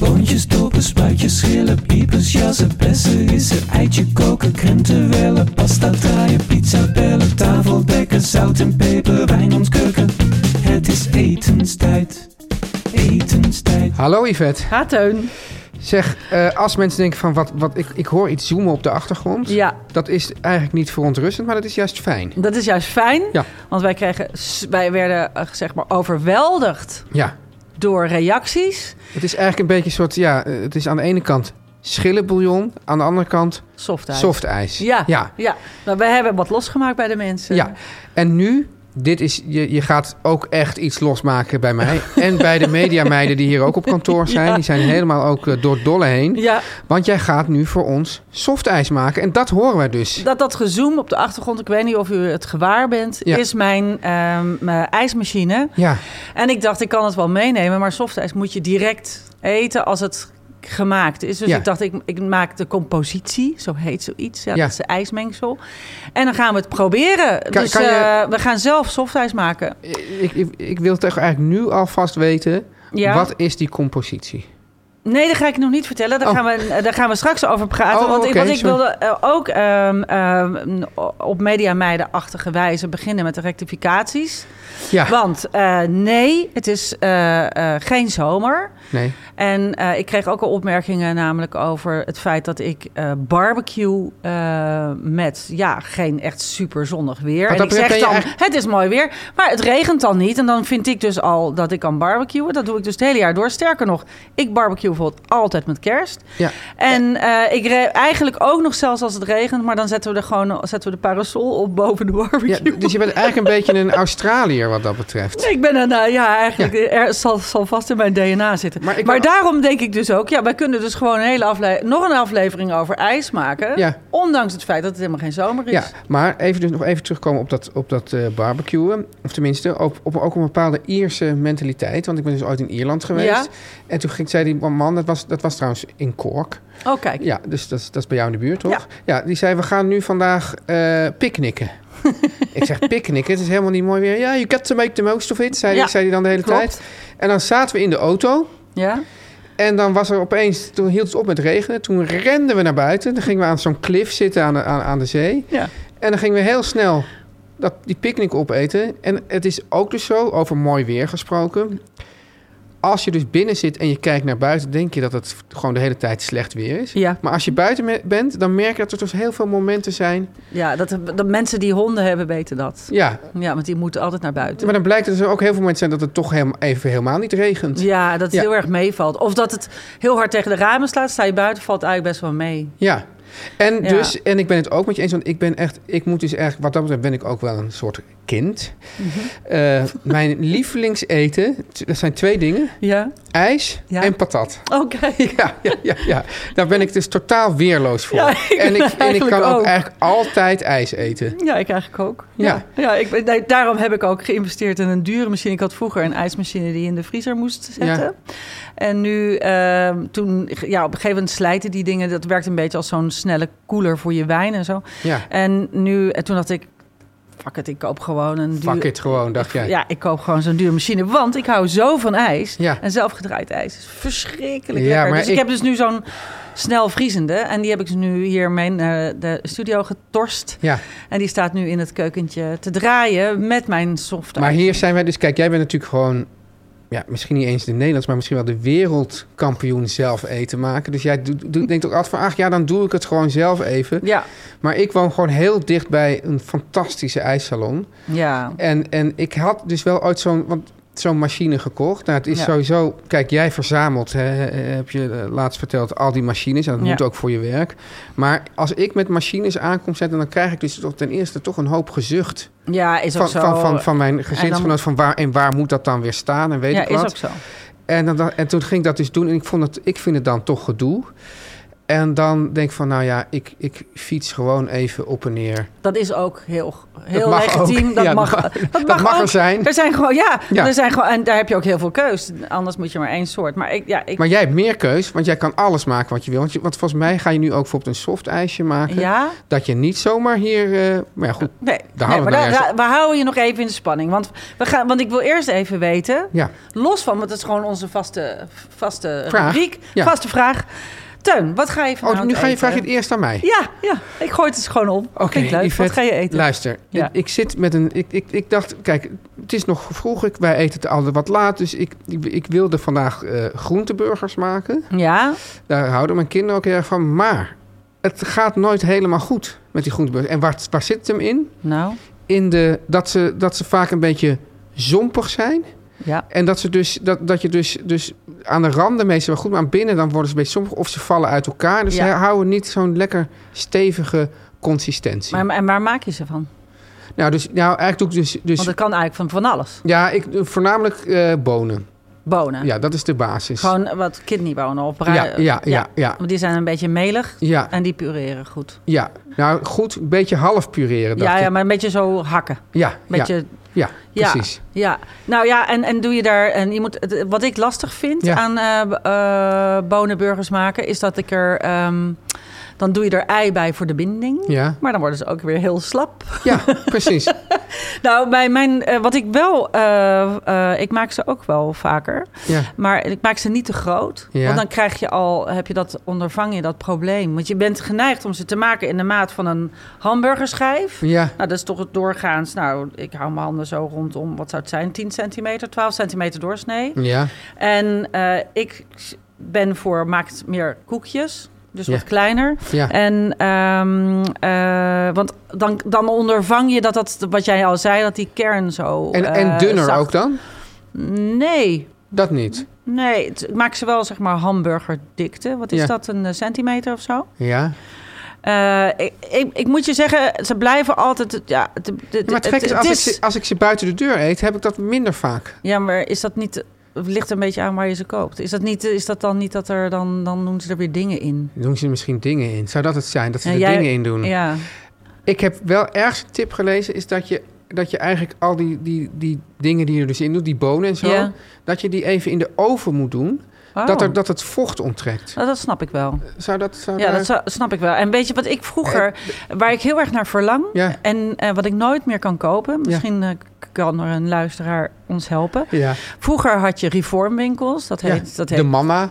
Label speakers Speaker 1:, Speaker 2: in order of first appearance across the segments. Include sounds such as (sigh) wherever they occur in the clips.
Speaker 1: Boontjes, dopen, spuitjes, schillen, piepers, jassen, bessen, rissen, eitje koken, krenten wellen, pasta draaien, pizza bellen, tafel dekken, zout en peper, wijn ontkurken. Het is etenstijd, etenstijd.
Speaker 2: Hallo Yvette.
Speaker 3: Ha, Teun.
Speaker 2: Zeg, eh, als mensen denken van wat, wat ik, ik hoor iets zoomen op de achtergrond.
Speaker 3: Ja,
Speaker 2: Dat is eigenlijk niet verontrustend, maar dat is juist fijn.
Speaker 3: dat is juist fijn.
Speaker 2: Ja.
Speaker 3: Want wij, kregen, s- wij werden eh, zeg maar overweldigd
Speaker 2: Ja.
Speaker 3: door reacties.
Speaker 2: Het is eigenlijk een beetje een soort, ja, eh, het is aan de ene kant schillenbouillon, aan de andere kant
Speaker 3: Soft ijs.
Speaker 2: soft ijs.
Speaker 3: Ja, ja.
Speaker 2: Ja.
Speaker 3: ja. Maar wij hebben wat losgemaakt bij de mensen.
Speaker 2: ja. En nu, dit is, je, je gaat ook echt iets losmaken bij
Speaker 3: (laughs)
Speaker 2: mij. en bij de mediameiden die hier ook op kantoor zijn.
Speaker 3: Ja.
Speaker 2: Die zijn helemaal ook eh, door het dolle heen.
Speaker 3: Ja,
Speaker 2: Want jij gaat nu voor ons soft ijs maken. En dat horen wij dus.
Speaker 3: dat, dat gezoem op de achtergrond, ik weet niet of u het gewaar bent,
Speaker 2: Ja.
Speaker 3: is mijn, ehm, mijn ijsmachine.
Speaker 2: Ja.
Speaker 3: En ik dacht, ik kan het wel meenemen, maar softijs moet je direct eten als het gemaakt is. Dus
Speaker 2: Ja.
Speaker 3: ik dacht, ik, ik maak de compositie, zo heet zoiets. Ja,
Speaker 2: Ja.
Speaker 3: Dat is de ijsmengsel. En dan gaan we het proberen.
Speaker 2: Kan-
Speaker 3: dus
Speaker 2: kan je-
Speaker 3: eh, we gaan zelf softijs maken.
Speaker 2: Eh, Ik, ik, ik wil toch eigenlijk nu alvast weten.
Speaker 3: Ja.
Speaker 2: Wat is die compositie?
Speaker 3: Nee, dat ga ik nog niet vertellen. Daar,
Speaker 2: Oh.
Speaker 3: gaan, we, eh, daar gaan we straks over praten.
Speaker 2: Oh,
Speaker 3: want ik,
Speaker 2: oké,
Speaker 3: want ik
Speaker 2: sorry.
Speaker 3: wilde eh, ook ehm, ehm, op mediameidenachtige wijze beginnen met de rectificaties.
Speaker 2: Ja,
Speaker 3: Want eh, nee, het is eh, eh, geen zomer.
Speaker 2: nee.
Speaker 3: En eh, ik kreeg ook al opmerkingen namelijk over het feit dat ik eh, barbecue eh, met ja, geen echt super zonnig weer.
Speaker 2: Wat
Speaker 3: En
Speaker 2: dat
Speaker 3: ik
Speaker 2: betreft
Speaker 3: zeg
Speaker 2: ben je
Speaker 3: dan,
Speaker 2: eigenlijk-
Speaker 3: het is mooi weer, maar het regent dan niet. En dan vind ik dus al dat ik kan barbecuen. Dat doe ik dus het hele jaar door. Sterker nog, ik barbecue bijvoorbeeld altijd met kerst.
Speaker 2: Ja.
Speaker 3: En eh, ik re- eigenlijk ook nog zelfs als het regent, maar dan zetten we er gewoon zetten we de parasol op boven de barbecue.
Speaker 2: Ja, dus je bent eigenlijk een beetje een Australiër wat dat betreft.
Speaker 3: Ik ben een, eh, ja, eigenlijk Er, zal, zal vast in mijn DNA zitten.
Speaker 2: Maar
Speaker 3: Maar,
Speaker 2: ik-
Speaker 3: daarom denk ik dus ook, ja, wij kunnen dus gewoon een hele afle nog een aflevering over ijs maken.
Speaker 2: Ja.
Speaker 3: Ondanks het feit dat het helemaal geen zomer is.
Speaker 2: Ja, maar even dus nog even terugkomen op dat, op dat eh barbecuen. Of tenminste, op, op, ook een bepaalde Ierse mentaliteit. Want ik ben dus ooit in Ierland geweest.
Speaker 3: Ja.
Speaker 2: En toen ging, zei die man, dat was, dat was trouwens in Cork.
Speaker 3: Oh, kijk.
Speaker 2: Ja, dus dat, is- dat is bij jou in de buurt, toch? Ja, die zei, we gaan nu vandaag eh
Speaker 3: (laughs)
Speaker 2: picknicken. ik zeg, picknicken? Het is helemaal niet mooi weer. Ja, you got to make the most of it, zei hij
Speaker 3: Ja,
Speaker 2: zei die dan de hele
Speaker 3: klopt.
Speaker 2: tijd. En dan zaten we in de auto.
Speaker 3: Ja?
Speaker 2: En dan was er opeens, toen hield het op met regenen. Toen renden we naar buiten. Dan gingen we aan zo'n klif zitten aan de, aan, aan de zee.
Speaker 3: Ja.
Speaker 2: En dan gingen we heel snel dat, die picknick opeten. En het is ook dus zo, over mooi weer gesproken. Als je dus binnen zit en je kijkt naar buiten, denk je dat het gewoon de hele tijd slecht weer is.
Speaker 3: Ja.
Speaker 2: Maar als je buiten me- bent, dan merk je dat er dus heel veel momenten zijn.
Speaker 3: Ja, dat, dat mensen die honden hebben weten dat.
Speaker 2: Ja,
Speaker 3: Ja, want die moeten altijd naar buiten.
Speaker 2: maar dan blijkt dat er ook heel veel momenten zijn dat het toch helemaal, even helemaal niet regent.
Speaker 3: Ja, dat het
Speaker 2: Ja.
Speaker 3: heel erg meevalt. Of dat het heel hard tegen de ramen slaat. Sta je buiten, valt eigenlijk best wel mee.
Speaker 2: Ja. En
Speaker 3: Ja.
Speaker 2: dus, en ik ben het ook met je eens, want ik ben echt, ik moet dus echt, wat dat betreft ben ik ook wel een soort kind.
Speaker 3: Mhm.
Speaker 2: Eh, mijn lievelingseten, t- dat zijn twee dingen,
Speaker 3: Ja?
Speaker 2: ijs
Speaker 3: Ja.
Speaker 2: en patat.
Speaker 3: Oké.
Speaker 2: Ja, ja, ja, ja, daar ben ik dus totaal weerloos voor.
Speaker 3: Ja, ik
Speaker 2: en, ik, en ik
Speaker 3: eigenlijk
Speaker 2: kan ook
Speaker 3: ook.
Speaker 2: eigenlijk altijd ijs eten.
Speaker 3: Ja, ik eigenlijk ook.
Speaker 2: Ja.
Speaker 3: Ja. ja ik, ben- nee, daarom heb ik ook geïnvesteerd in een dure machine. Ik had vroeger een ijsmachine die je in de vriezer moest zetten. En nu, ehm, toen, ja, op een gegeven moment slijten die dingen. Dat werkt een beetje als zo'n snelle koeler voor je wijn en zo.
Speaker 2: Ja.
Speaker 3: En nu, en toen dacht ik, fuck it, ik koop gewoon een duur...
Speaker 2: Fuck it gewoon, dacht jij.
Speaker 3: Ja, ik koop gewoon zo'n dure machine. Want ik hou zo van ijs.
Speaker 2: Ja.
Speaker 3: En zelfgedraaid ijs is verschrikkelijk
Speaker 2: Ja,
Speaker 3: lekker.
Speaker 2: maar
Speaker 3: dus ik,
Speaker 2: ik-
Speaker 3: heb dus nu zo'n snel vriezende. En die heb ik nu hier mee naar de studio getorst.
Speaker 2: Ja,
Speaker 3: En die staat nu in het keukentje te draaien met mijn soft.
Speaker 2: maar hier zijn wij dus... Kijk, jij bent natuurlijk gewoon... Ja, misschien niet eens de Nederlands, maar misschien wel de wereldkampioen zelf eten maken. Dus jij doet- doet- denkt ook altijd van, ach ja, dan doe ik het gewoon zelf even.
Speaker 3: Ja,
Speaker 2: Maar ik woon gewoon heel dicht bij een fantastische ijssalon.
Speaker 3: ja.
Speaker 2: En, en ik had dus wel ooit zo'n want zo'n machine gekocht. Nou, het is
Speaker 3: Ja.
Speaker 2: sowieso... Kijk, jij verzamelt, hè, heb je eh, laatst verteld, al die machines. En dat
Speaker 3: Ja.
Speaker 2: moet ook voor je werk. Maar als ik met machines aankom zetten... dan krijg ik dus toch ten eerste toch een hoop gezucht...
Speaker 3: Ja, is ook
Speaker 2: van,
Speaker 3: zo.
Speaker 2: van, van, van mijn gezinsgenoot.
Speaker 3: dan-
Speaker 2: van waar, en waar moet dat dan weer staan en weet
Speaker 3: ja,
Speaker 2: ik wat.
Speaker 3: is ook zo.
Speaker 2: En, dan- dan, en toen ging ik dat dus doen en ik, vond het, ik vind het dan toch gedoe. En dan denk ik van, nou ja, ik, ik fiets gewoon even op en neer.
Speaker 3: Dat is ook heel, heel
Speaker 2: mag
Speaker 3: legitiem.
Speaker 2: ook.
Speaker 3: Dat,
Speaker 2: Ja,
Speaker 3: mag,
Speaker 2: dat
Speaker 3: dat,
Speaker 2: dat mag
Speaker 3: ook.
Speaker 2: er zijn.
Speaker 3: Er zijn gewoon, ja,
Speaker 2: Ja.
Speaker 3: Er zijn gewoon, en daar heb je ook heel veel keus. Anders moet je maar één soort. Maar ik, ja, ik,
Speaker 2: Maar jij hebt meer keus, want jij kan alles maken wat je wil. Want, je- want volgens mij ga je nu ook bijvoorbeeld een soft ijsje maken.
Speaker 3: ja,
Speaker 2: Dat je niet zomaar hier... eh, maar ja, goed.
Speaker 3: nee,
Speaker 2: Daar
Speaker 3: nee
Speaker 2: houden we
Speaker 3: maar
Speaker 2: nou
Speaker 3: daar-
Speaker 2: juist-
Speaker 3: daar- we houden je nog even in de spanning. Want, we gaan, want ik wil eerst even weten,
Speaker 2: Ja.
Speaker 3: los van, want dat is gewoon onze vaste, vaste
Speaker 2: Vraag.
Speaker 3: rubriek,
Speaker 2: Ja.
Speaker 3: vaste vraag. Teun, wat ga je
Speaker 2: Oh,
Speaker 3: vanavond
Speaker 2: nu ga je,
Speaker 3: eten?
Speaker 2: vraag je het eerst aan mij.
Speaker 3: Ja, ja, ik gooi het eens gewoon op. Oké, leuk.
Speaker 2: Yvette,
Speaker 3: wat ga je eten?
Speaker 2: Luister,
Speaker 3: Ja.
Speaker 2: ik, ik zit met een. Ik, ik, ik dacht, kijk, het is nog vroeg. Ik, wij eten het altijd wat laat. Dus ik, ik, ik wilde vandaag eh groenteburgers maken.
Speaker 3: Ja,
Speaker 2: Daar houden mijn kinderen ook heel erg van. Maar het gaat nooit helemaal goed met die groenteburgers. En waar, waar zit het hem in?
Speaker 3: nou,
Speaker 2: In de, dat, ze, dat ze vaak een beetje zompig zijn.
Speaker 3: ja.
Speaker 2: En dat, ze dus, dat, dat je dus, dus aan de randen meestal wel goed, maar aan binnen dan worden ze een beetje sommige of ze vallen uit elkaar. Dus
Speaker 3: Ja.
Speaker 2: ze houden niet zo'n lekker stevige consistentie.
Speaker 3: Maar, en waar maak je ze van?
Speaker 2: nou, dus, nou, eigenlijk doe ik dus. dus
Speaker 3: Want het kan eigenlijk van van alles.
Speaker 2: ja, ik, doe voornamelijk eh, bonen.
Speaker 3: Bonen.
Speaker 2: Ja, dat is de basis.
Speaker 3: Gewoon wat kidneybonen of bruin.
Speaker 2: ja, ja, ja, ja, ja,
Speaker 3: Want die zijn een beetje melig
Speaker 2: ja,
Speaker 3: en die pureren goed.
Speaker 2: Nou, goed, een beetje half pureren. Dacht
Speaker 3: Ja, ja,
Speaker 2: ik.
Speaker 3: maar een beetje zo hakken.
Speaker 2: ja, ja,
Speaker 3: Beetje,
Speaker 2: ja,
Speaker 3: ja,
Speaker 2: precies.
Speaker 3: Ja, nou ja, en, en doe je daar. En je moet, het- wat ik lastig vind
Speaker 2: Ja.
Speaker 3: aan eh, b- eh, bonenburgers maken, is dat ik er. ehm, dan doe je er ei bij voor de binding.
Speaker 2: Ja,
Speaker 3: Maar dan worden ze ook weer heel slap.
Speaker 2: ja, precies.
Speaker 3: Nou, bij mijn, eh, wat ik wel. eh, eh, ik maak ze ook wel vaker.
Speaker 2: Ja,
Speaker 3: Maar ik maak ze niet te groot.
Speaker 2: Ja.
Speaker 3: Want dan krijg je al, heb je dat ondervang je dat probleem. Want je bent geneigd om ze te maken in de maat van een hamburgerschijf.
Speaker 2: ja,
Speaker 3: Nou, dat is toch het doorgaans. Nou, ik hou mijn handen zo rondom, wat zou het zijn? 10 centimeter, 12 centimeter doorsnee.
Speaker 2: ja,
Speaker 3: En eh, ik ben voor, maak het meer koekjes. Dus
Speaker 2: Ja.
Speaker 3: wat kleiner.
Speaker 2: ja.
Speaker 3: En, ehm, eh, want dan, dan ondervang je dat, dat, wat jij al zei, dat die kern zo.
Speaker 2: En, en
Speaker 3: eh,
Speaker 2: dunner
Speaker 3: zacht-
Speaker 2: ook dan?
Speaker 3: Nee,
Speaker 2: Dat niet.
Speaker 3: Nee, het- ik maak ze wel zeg maar hamburgerdikte. Wat is
Speaker 2: Ja.
Speaker 3: dat, een eh, centimeter of zo?
Speaker 2: Ja.
Speaker 3: Eh, ik, ik, ik moet je zeggen, ze blijven altijd... Ja, het, het,
Speaker 2: Ja, maar het gekke is, als, Ik ze, als ik ze buiten de deur eet, heb ik dat minder vaak.
Speaker 3: Ja, maar is dat niet... Het ligt een beetje aan waar je ze koopt. Is dat, niet, is dat dan niet dat er... Dan, dan doen ze er weer dingen in.
Speaker 2: Dan doen ze er misschien dingen in. Zou dat het zijn, dat ze
Speaker 3: Ja,
Speaker 2: er
Speaker 3: jij-
Speaker 2: dingen in doen?
Speaker 3: Ja,
Speaker 2: Ik heb wel ergens een tip gelezen, is dat je, dat je eigenlijk al die, die, die dingen die je er dus in doet, die bonen en zo,
Speaker 3: Ja.
Speaker 2: dat je die even in de oven moet doen,
Speaker 3: Oh.
Speaker 2: dat, er, Eh, dat het vocht onttrekt.
Speaker 3: Nou, dat snap ik wel.
Speaker 2: Zou dat... Zou
Speaker 3: Ja,
Speaker 2: daar-
Speaker 3: dat zou- snap ik wel. En weet je wat ik vroeger, waar ik heel erg naar verlang
Speaker 2: eh, Ja.
Speaker 3: en eh, wat ik nooit meer kan kopen, misschien eh, k- kan er een luisteraar ons helpen.
Speaker 2: Ja.
Speaker 3: Vroeger had je reformwinkels, dat
Speaker 2: Ja.
Speaker 3: heet, dat heet
Speaker 2: De mama.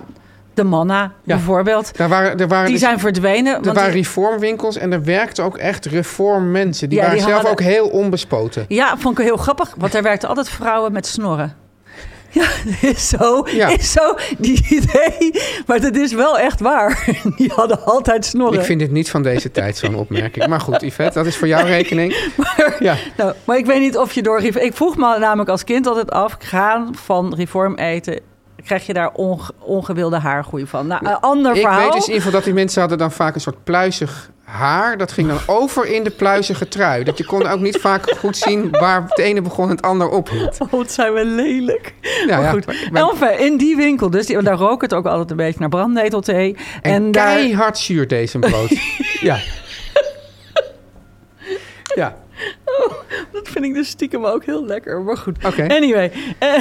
Speaker 3: De Manna bijvoorbeeld.
Speaker 2: Daar waren, er waren,
Speaker 3: Die
Speaker 2: dus-
Speaker 3: zijn verdwenen.
Speaker 2: er
Speaker 3: want
Speaker 2: waren
Speaker 3: die-
Speaker 2: reformwinkels en er werkten ook echt reformmensen. Die
Speaker 3: Ja, die
Speaker 2: waren zelf
Speaker 3: hadden-
Speaker 2: ook heel onbespoten.
Speaker 3: ja, vond ik heel grappig. Want er werkten altijd vrouwen met snorren. (laughs) Ja, is zo,
Speaker 2: Ja.
Speaker 3: is zo die idee. Maar dat is wel echt waar. (laughs) Die hadden altijd snorren.
Speaker 2: Ik vind dit niet van deze tijd, zo'n opmerking. Maar goed, Yvette, dat is voor jouw rekening.
Speaker 3: (laughs) maar,
Speaker 2: Ja.
Speaker 3: nou, maar ik weet niet of je door... ref- Ik vroeg me namelijk als kind altijd af... gaan van reform eten... krijg je daar onge- ongewilde haargroei van? Nou, een ander
Speaker 2: Ik
Speaker 3: verhaal.
Speaker 2: weet dus in ieder
Speaker 3: (laughs)
Speaker 2: geval dat die mensen hadden dan vaak een soort pluizig haar. Dat ging dan over in de pluizige trui. Dat je kon ook niet vaak goed zien waar het ene begon en het ander ophield.
Speaker 3: Oh, wat zijn we lelijk.
Speaker 2: Nou
Speaker 3: maar
Speaker 2: ja,
Speaker 3: Oh, goed.
Speaker 2: maar- maar-
Speaker 3: Enfin, in die winkel dus. Die, daar rook het ook altijd een beetje naar brandnetelthee.
Speaker 2: En,
Speaker 3: daar-
Speaker 2: keihard zuur deze brood. ja. Ja,
Speaker 3: Dat vind ik dus stiekem ook heel lekker. Maar goed.
Speaker 2: Oké.
Speaker 3: Anyway. eh,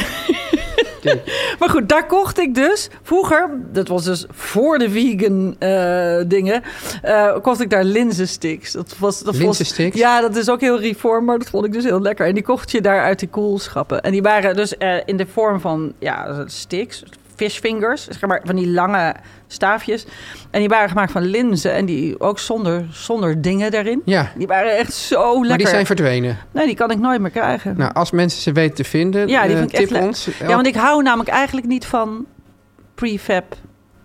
Speaker 2: dit
Speaker 3: (laughs) Maar goed, daar kocht ik dus vroeger, dat was dus voor de vegan eh, dingen, eh, kocht ik daar linzensticks. Dat was, dat was-
Speaker 2: Linzensticks?
Speaker 3: Ja, dat is ook heel reform, maar dat vond ik dus heel lekker. En die kocht je daar uit de koelschappen. En die waren dus eh, in de vorm van ja, sticks, fishfingers, zeg maar van die lange staafjes. En die waren gemaakt van linzen en die ook zonder, zonder dingen daarin.
Speaker 2: Ja, maar
Speaker 3: Die waren echt zo lekker.
Speaker 2: die zijn verdwenen.
Speaker 3: Nee, die kan ik nooit meer krijgen.
Speaker 2: Nou, als mensen ze weten te vinden,
Speaker 3: Ja, die
Speaker 2: eh,
Speaker 3: vind ik
Speaker 2: tip
Speaker 3: echt leuk.
Speaker 2: ons.
Speaker 3: Ja, want ik hou namelijk eigenlijk niet van prefab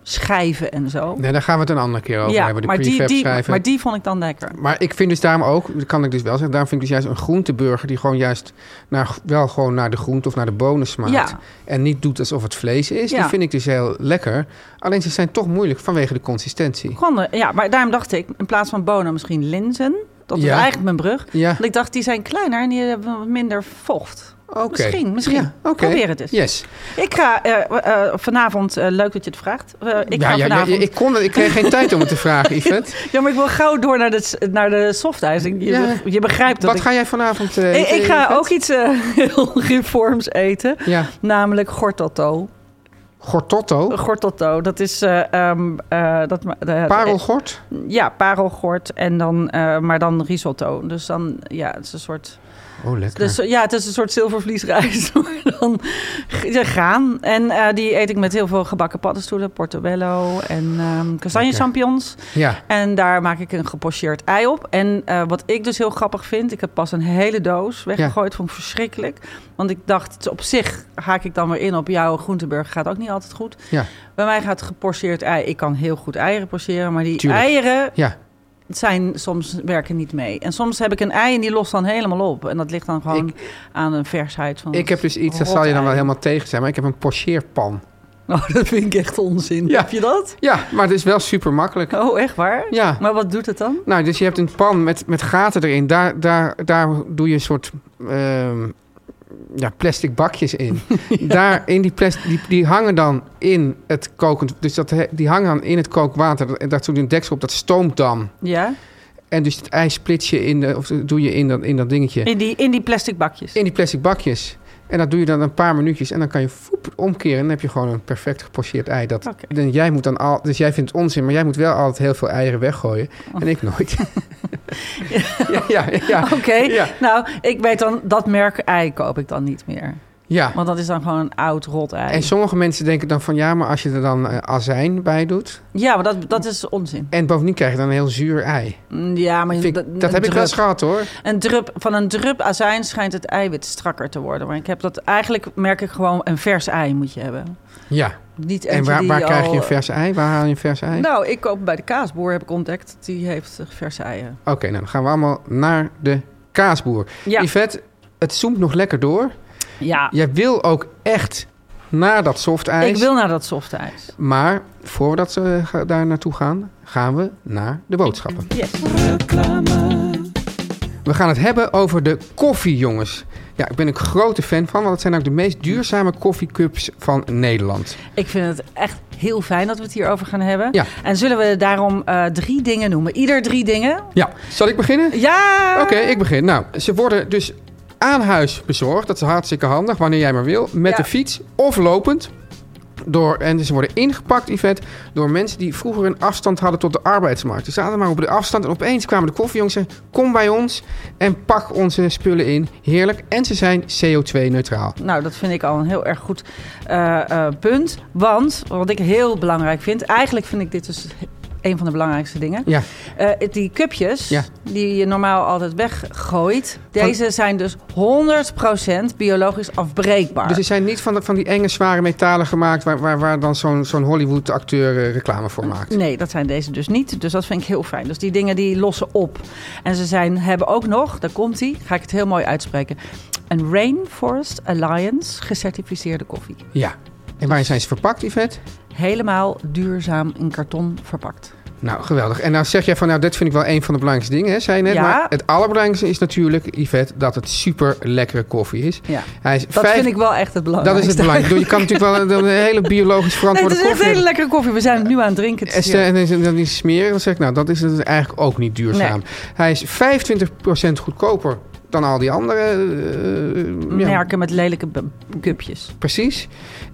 Speaker 3: schijven en zo.
Speaker 2: Nee, daar gaan we het een andere keer over
Speaker 3: ja,
Speaker 2: hebben, de
Speaker 3: maar die,
Speaker 2: prefab
Speaker 3: die,
Speaker 2: schrijven.
Speaker 3: maar die vond ik dan lekker.
Speaker 2: Maar ik vind dus daarom ook, dat kan ik dus wel zeggen, daarom vind ik dus juist een groenteburger die gewoon juist naar, wel gewoon naar de groente of naar de bonen smaakt.
Speaker 3: Ja.
Speaker 2: En niet doet alsof het vlees is. Die
Speaker 3: Ja.
Speaker 2: vind ik dus heel lekker. Alleen ze zijn toch moeilijk vanwege de consistentie.
Speaker 3: Gewoon, eh, ja, maar daarom dacht ik, in plaats van bonen misschien linzen. Dat is
Speaker 2: Ja.
Speaker 3: eigenlijk mijn brug.
Speaker 2: Ja,
Speaker 3: Want ik dacht, die zijn kleiner en die hebben wat minder vocht.
Speaker 2: oké.
Speaker 3: Oh, Misschien, misschien.
Speaker 2: Ja, oké.
Speaker 3: Probeer het eens.
Speaker 2: Yes.
Speaker 3: Ik ga eh, eh, vanavond, eh, leuk dat je het vraagt. Eh, ik
Speaker 2: ja,
Speaker 3: ga
Speaker 2: ja, ja,
Speaker 3: vanavond... Ja,
Speaker 2: ik, kon, het- ik kreeg geen tijd om het te vragen,
Speaker 3: (laughs)
Speaker 2: Yvette.
Speaker 3: maar ik wil gauw door naar de, s- naar de soft ice. Ik- Je,
Speaker 2: Ja.
Speaker 3: je begrijpt dat
Speaker 2: Wat
Speaker 3: ik...
Speaker 2: ga jij vanavond eh,
Speaker 3: ik,
Speaker 2: eten,
Speaker 3: ik ga
Speaker 2: Yvette?
Speaker 3: ook iets eh, (laughs) heel reforms eten.
Speaker 2: Ja,
Speaker 3: Namelijk gortotto.
Speaker 2: gortotto.
Speaker 3: Gortotto, dat is... eh, ehm, eh, dat, ma- de-
Speaker 2: Parelgort.
Speaker 3: Ja, parelgort en dan... eh, maar dan risotto. Dus dan, ja, het is een soort...
Speaker 2: Oh, lekker.
Speaker 3: Dus, ja, het is een soort zilvervliesrijst. (laughs) Maar dan g- ja, gaan. En eh, die eet ik met heel veel gebakken paddenstoelen. Portobello en ehm kastanje champignons.
Speaker 2: ja,
Speaker 3: En daar maak ik een gepocheerd ei op. En eh, wat ik dus heel grappig vind, ik heb pas een hele doos weggegooid. Vond ik verschrikkelijk. Want ik dacht, het is op zich haak ik dan weer in op jouw Groenteburg gaat ook niet altijd goed.
Speaker 2: Ja.
Speaker 3: Bij mij gaat gepocheerd ei. Ik kan heel goed eieren pocheren, maar die
Speaker 2: Tuurlijk.
Speaker 3: eieren
Speaker 2: ja.
Speaker 3: zijn soms werken niet mee. En soms heb ik een ei en die lost dan helemaal op. En dat ligt dan gewoon aan een versheid van.
Speaker 2: Ik heb
Speaker 3: het
Speaker 2: dus iets, dat
Speaker 3: rot
Speaker 2: zal je dan
Speaker 3: ei.
Speaker 2: wel helemaal tegen zijn, maar ik heb een pocheerpan.
Speaker 3: Oh, dat vind ik echt onzin.
Speaker 2: Ja.
Speaker 3: Heb je dat?
Speaker 2: Ja, maar het is wel super makkelijk.
Speaker 3: Oh, echt waar?
Speaker 2: Ja.
Speaker 3: Maar wat doet het dan?
Speaker 2: Nou, dus je hebt een pan met, met gaten erin. Daar, daar, daar doe je een soort ehm, ja, plastic bakjes in. Daar in die plastic, die, die hangen dan in het kokend. Dus dat, he- die hangen dan in het kookwater. En daar doe je een deksel op, dat stoomt dan.
Speaker 3: Ja.
Speaker 2: En dus het ei split je in, de, of doe je in dat, in dat dingetje.
Speaker 3: In die, in die plastic bakjes.
Speaker 2: In die plastic bakjes. En dat doe je dan een paar minuutjes. En dan kan je voep omkeren. En dan heb je gewoon een perfect gepocheerd ei. Dat,
Speaker 3: Oké.
Speaker 2: dan, jij moet dan al, dus jij vindt het onzin, maar jij moet wel altijd heel veel eieren weggooien.
Speaker 3: Oh.
Speaker 2: En ik
Speaker 3: (laughs)
Speaker 2: nooit. ja, ja, ja.
Speaker 3: Oké,
Speaker 2: Ja.
Speaker 3: nou, ik weet dan, dat merk ei koop ik dan niet meer.
Speaker 2: ja.
Speaker 3: Want dat is dan gewoon een oud rot ei.
Speaker 2: En sommige mensen denken dan van ja, maar als je er dan eh, azijn bij doet.
Speaker 3: Ja, maar dat, dat is onzin.
Speaker 2: En bovendien krijg je dan een heel zuur ei.
Speaker 3: Mm, Ja, maar
Speaker 2: Vind ik-
Speaker 3: een
Speaker 2: dat heb ik wel
Speaker 3: drup-
Speaker 2: eens gehad hoor.
Speaker 3: een drup, Van een drup azijn schijnt het eiwit strakker te worden. Maar ik heb dat eigenlijk, merk ik gewoon, een vers ei moet je hebben.
Speaker 2: Ja.
Speaker 3: Niet
Speaker 2: En
Speaker 3: eentje
Speaker 2: waar,
Speaker 3: die
Speaker 2: waar
Speaker 3: al-
Speaker 2: krijg je een vers ei? Waar haal je een vers ei?
Speaker 3: Nou, ik koop bij de kaasboer, heb ik ontdekt. Die heeft eh, verse eieren.
Speaker 2: Oké, nou dan gaan we allemaal naar de kaasboer.
Speaker 3: Ja,
Speaker 2: Yvette, het zoemt nog lekker door.
Speaker 3: ja.
Speaker 2: Jij wil ook echt naar dat soft ijs.
Speaker 3: ik wil naar dat soft ijs.
Speaker 2: Maar voordat we ga- daar naartoe gaan, gaan we naar de boodschappen. We gaan het hebben over de koffie, jongens. Ja, ik ben een grote fan van, want het zijn ook de meest duurzame koffiecups van Nederland.
Speaker 3: Ik vind het echt heel fijn dat we het hierover gaan hebben.
Speaker 2: Ja.
Speaker 3: En zullen we daarom eh, drie dingen noemen? Ieder drie dingen?
Speaker 2: Ja, zal ik beginnen?
Speaker 3: Ja!
Speaker 2: Oké, ik begin. Nou, ze worden dus aan huis bezorgd. Dat is hartstikke handig, wanneer jij maar wil. Met
Speaker 3: Ja.
Speaker 2: de fiets of lopend. Door, en ze worden ingepakt, Yvette, door mensen die vroeger een afstand hadden tot de arbeidsmarkt. Ze zaten maar op de afstand en opeens kwamen de koffiejongens en zeiden, kom bij ons en pak onze spullen in. Heerlijk. En ze zijn CO2-neutraal.
Speaker 3: Nou, dat vind ik al een heel erg goed eh, eh, punt. Want, wat ik heel belangrijk vind... Eigenlijk vind ik dit dus een van de belangrijkste dingen.
Speaker 2: Ja,
Speaker 3: Eh, het- die cupjes,
Speaker 2: Ja.
Speaker 3: die je normaal altijd weggooit... Deze zijn dus 100% biologisch afbreekbaar.
Speaker 2: dus ze zijn niet van, de- van die enge, zware metalen gemaakt waar, waar, waar dan zo'n zo'n Hollywood-acteur eh, reclame voor maakt.
Speaker 3: Nee, dat zijn deze dus niet. Dus dat vind ik heel fijn. Dus die dingen die lossen op. En ze zijn, hebben ook nog, daar komt die, ga ik het heel mooi uitspreken. Een Rainforest Alliance gecertificeerde koffie.
Speaker 2: Ja. En waarin zijn ze verpakt, Yvette?
Speaker 3: Helemaal duurzaam in karton verpakt.
Speaker 2: Nou, geweldig. En nou zeg jij van, nou, dit vind ik wel een van de belangrijkste dingen, hè, zei je net.
Speaker 3: Ja.
Speaker 2: Maar het allerbelangrijkste is natuurlijk, Yvette, dat het super lekkere koffie is.
Speaker 3: Ja.
Speaker 2: Hij is
Speaker 3: Dat
Speaker 2: vijf-
Speaker 3: vind ik wel echt het
Speaker 2: dat is
Speaker 3: belangrijkste.
Speaker 2: het belangrijkste. Je kan
Speaker 3: (laughs)
Speaker 2: natuurlijk wel een, een hele biologisch
Speaker 3: Nee, het
Speaker 2: verantwoorde
Speaker 3: is echt
Speaker 2: koffie
Speaker 3: hele
Speaker 2: hebben.
Speaker 3: lekkere koffie. We zijn het nu aan het drinken. Het
Speaker 2: En
Speaker 3: is
Speaker 2: stel-
Speaker 3: hier-
Speaker 2: en dan- dan dus is smeren, dan zeg ik, nou, dat is, dat is eigenlijk ook niet duurzaam. Hij is 25% goedkoper dan al die andere eh, ja,
Speaker 3: Merken met lelijke bu- cupjes.
Speaker 2: Precies.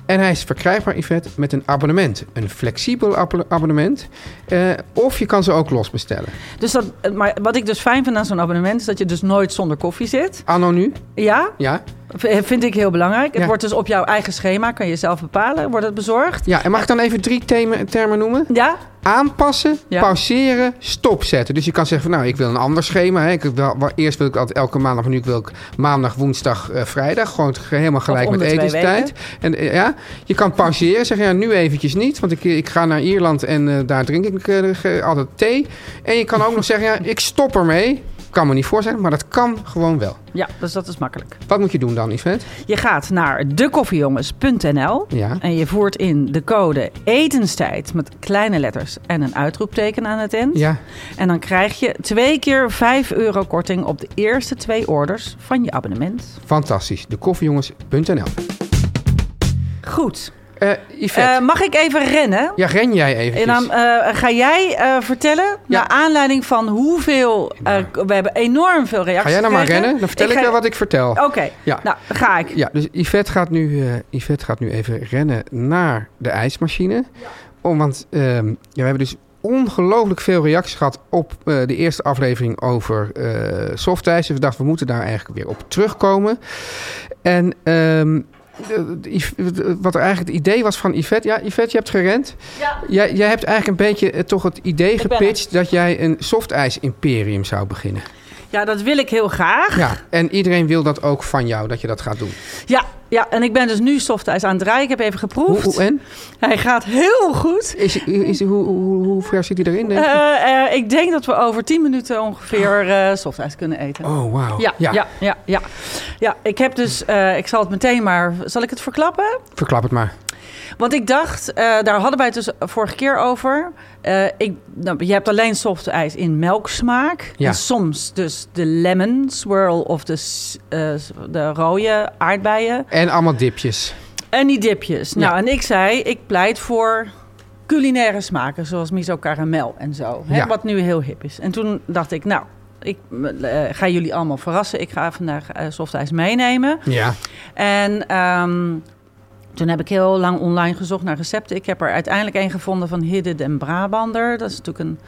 Speaker 2: En hij is verkrijgbaar, Yvette, met een abonnement. Een flexibel abonne- abonnement. Eh, of je kan ze ook losbestellen.
Speaker 3: Dus dat, maar wat ik dus fijn vind aan zo'n abonnement... is dat je dus nooit zonder koffie zit.
Speaker 2: Anno nu,
Speaker 3: Ja,
Speaker 2: ja.
Speaker 3: v- eh, vind ik heel belangrijk. Het
Speaker 2: Ja.
Speaker 3: wordt dus op jouw eigen schema, kan je zelf bepalen. Wordt het bezorgd?
Speaker 2: ja. En mag ik dan even drie thema- termen noemen?
Speaker 3: Ja?
Speaker 2: Aanpassen,
Speaker 3: Ja.
Speaker 2: pauzeren, stopzetten. Dus je kan zeggen, van, nou, ik wil een ander schema. Hè. Ik wil, wel- eerst wil ik altijd elke maandag, maar nu wil ik maandag, woensdag, eh, vrijdag. Gewoon het- helemaal gelijk
Speaker 3: om
Speaker 2: met
Speaker 3: de twee
Speaker 2: etenstijd. En, eh, ja. Je kan pauzeren, zeggen, ja, nu eventjes niet. Want ik, ik ga naar Ierland en eh, daar drink ik eh, ge- altijd thee. En je kan ook nog zeggen, ja, ik stop ermee. Kan me niet voorstellen, maar dat kan gewoon wel.
Speaker 3: Ja, dus dat is makkelijk.
Speaker 2: Wat moet je doen dan, Yvette?
Speaker 3: Je gaat naar dekoffiejongens.nl
Speaker 2: Ja.
Speaker 3: en je voert in de code etenstijd met kleine letters en een uitroepteken aan het eind.
Speaker 2: Ja,
Speaker 3: En dan krijg je twee keer 5 euro korting op de eerste twee orders van je abonnement.
Speaker 2: fantastisch. De koffiejongens.nl
Speaker 3: Goed.
Speaker 2: Eh Yvette,
Speaker 3: Eh, mag ik even rennen?
Speaker 2: ja, ren jij eventjes.
Speaker 3: En dan eh, ga jij eh, vertellen,
Speaker 2: Ja.
Speaker 3: naar aanleiding van hoeveel... eh,
Speaker 2: Ja.
Speaker 3: k- we hebben enorm veel reacties
Speaker 2: Ga jij nou maar
Speaker 3: gekregen.
Speaker 2: rennen? Dan vertel ik,
Speaker 3: ga-
Speaker 2: wel wat ik vertel.
Speaker 3: Oké,
Speaker 2: Ja.
Speaker 3: nou, dan ga ik.
Speaker 2: Ja, dus Yvette gaat nu, eh, Yvette gaat nu even rennen naar de ijsmachine. Om, want ehm, ja, we hebben dus ongelooflijk veel reacties gehad op eh, de eerste aflevering over eh softijs. En we dachten, we moeten daar eigenlijk weer op terugkomen. En ehm, de- de- Yv- de- wat er eigenlijk het idee was van Yvette... Ja, Yvette, je hebt gerend. Jij, jij hebt eigenlijk een beetje eh, toch het idee
Speaker 3: ben er.
Speaker 2: gepitcht... dat jij een softijs-imperium zou beginnen.
Speaker 3: Ja, dat wil ik heel graag.
Speaker 2: Ja, en iedereen wil dat ook van jou, dat je dat gaat doen.
Speaker 3: Ja, ja, en ik ben dus nu softijs aan het draaien. Ik heb even
Speaker 2: Hoe,
Speaker 3: geproefd.
Speaker 2: hoe- en?
Speaker 3: Hij gaat heel goed.
Speaker 2: Is, is, hoe, hoe, hoe ver zit hij erin? Denk je?
Speaker 3: Eh, eh, ik denk dat we over 10 minuten ongeveer
Speaker 2: Ah.
Speaker 3: eh softijs kunnen eten.
Speaker 2: oh, wauw.
Speaker 3: Ja, ja, ja, ja, ja. ik heb dus, eh, ik zal het meteen maar, zal ik het verklappen?
Speaker 2: Verklap het maar.
Speaker 3: Want ik dacht, eh, daar hadden wij het dus vorige keer over. Eh, ik, nou, je hebt alleen soft ijs in melksmaak.
Speaker 2: Ja.
Speaker 3: En soms dus de lemon swirl of de, s- eh, de rode aardbeien.
Speaker 2: En allemaal dipjes.
Speaker 3: En die dipjes. Nou,
Speaker 2: Ja.
Speaker 3: en ik zei, ik pleit voor culinaire smaken, zoals miso karamel en zo. Hè,
Speaker 2: Ja.
Speaker 3: Wat nu heel hip is. En toen dacht ik, nou, ik eh, ga jullie allemaal verrassen. Ik ga vandaag eh, softijs meenemen.
Speaker 2: Ja.
Speaker 3: En ehm, toen heb ik heel lang online gezocht naar recepten. Ik heb er uiteindelijk één gevonden van Hidde den Brabander. Dat is natuurlijk een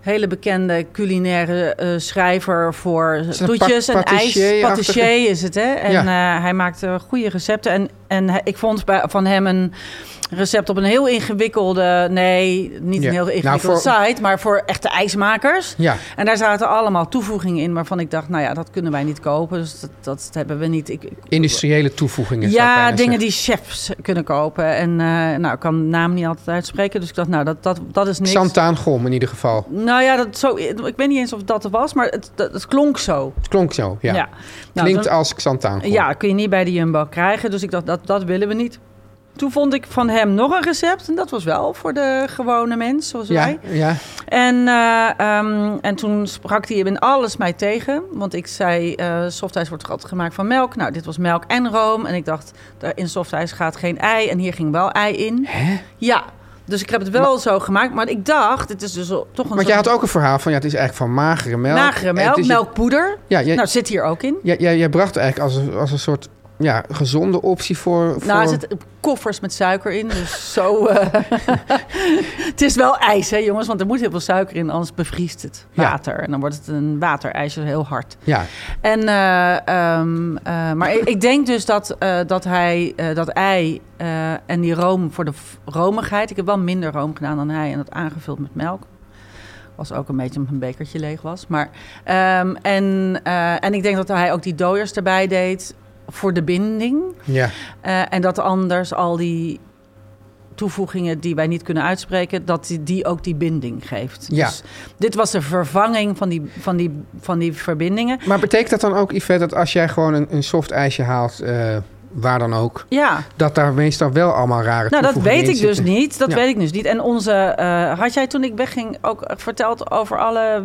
Speaker 3: hele bekende culinaire eh, schrijver voor
Speaker 2: een
Speaker 3: toetjes
Speaker 2: pa-
Speaker 3: en ijs.
Speaker 2: patissier-achtige-
Speaker 3: Patissier is het, hè? En eh, hij maakt eh, goede recepten. En, en hij- ik vond bij- van hem een recept op een heel ingewikkelde... Nee, niet
Speaker 2: Ja.
Speaker 3: een heel
Speaker 2: Nou,
Speaker 3: ingewikkelde
Speaker 2: voor-
Speaker 3: site, maar voor echte ijsmakers.
Speaker 2: Ja.
Speaker 3: En daar zaten allemaal toevoegingen in waarvan ik dacht... nou ja, dat kunnen wij niet kopen, dus dat, dat hebben we niet. Ik, ik-
Speaker 2: Industriële toevoegingen. zou ik
Speaker 3: ja,
Speaker 2: bijna
Speaker 3: dingen
Speaker 2: zeggen.
Speaker 3: die chefs kunnen kopen. En eh, nou, ik kan de naam niet altijd uitspreken. Dus ik dacht, nou, dat, dat, dat is niks.
Speaker 2: Xantaan Gom in ieder geval.
Speaker 3: Nou ja, dat zo, ik weet niet eens of dat er was, maar het, dat, het klonk zo.
Speaker 2: Het klonk zo. Ja.
Speaker 3: Nou,
Speaker 2: Klinkt
Speaker 3: dan-
Speaker 2: als Xantaan Gom.
Speaker 3: ja, kun je niet bij de Jumbo krijgen. Dus ik dacht, dat, dat willen we niet. Toen vond ik van hem nog een recept. En dat was wel voor de gewone mens, zoals
Speaker 2: Ja,
Speaker 3: wij.
Speaker 2: ja.
Speaker 3: En, eh, ehm, en toen sprak hij in alles mij tegen. Want ik zei, eh softijs wordt toch altijd gemaakt van melk. Nou, dit was melk en room. En ik dacht, daar in softijs gaat geen ei. En hier ging wel ei in. Ja, dus ik heb het wel zo gemaakt. Maar ik dacht, het is dus toch een
Speaker 2: Want
Speaker 3: soort
Speaker 2: jij had ook een verhaal van ja, het is eigenlijk van magere melk.
Speaker 3: nagere
Speaker 2: Het
Speaker 3: melk.
Speaker 2: is-
Speaker 3: Melkpoeder.
Speaker 2: Ja, jij,
Speaker 3: Nou, zit hier ook in.
Speaker 2: jij, jij, jij bracht eigenlijk als een, als een soort ja, gezonde optie voor... voor...
Speaker 3: Nou, er zitten koffers met suiker in, dus zo... eh, (laughs) het is wel ijs, hè jongens, want er moet heel veel suiker in, anders bevriest het
Speaker 2: Ja.
Speaker 3: water. En dan wordt het een waterijsje heel hard.
Speaker 2: Ja,
Speaker 3: En, eh, ehm, eh, maar ik, ik denk dus dat, eh, dat hij eh, dat ei eh, en die room voor de v- romigheid. Ik heb wel minder room gedaan dan hij en dat aangevuld met melk. Was ook een beetje omdat mijn bekertje leeg was. Maar, ehm, en, eh, en ik denk dat hij ook die dooiers erbij deed voor de binding.
Speaker 2: ja.
Speaker 3: Eh, en dat anders al die toevoegingen die wij niet kunnen uitspreken, dat die, die ook die binding geeft.
Speaker 2: Ja.
Speaker 3: Dus dit was de vervanging van die, van die, van die verbindingen.
Speaker 2: Maar betekent dat dan ook, Yvette, dat als jij gewoon een, een soft ijsje haalt, eh, waar dan ook...
Speaker 3: Ja.
Speaker 2: dat daar meestal wel allemaal rare
Speaker 3: Nou, dat
Speaker 2: toevoegingen
Speaker 3: weet
Speaker 2: in
Speaker 3: ik dus
Speaker 2: zitten.
Speaker 3: niet. Dat
Speaker 2: Ja.
Speaker 3: weet ik dus niet. En onze. eh, had jij toen ik wegging ook verteld over alle.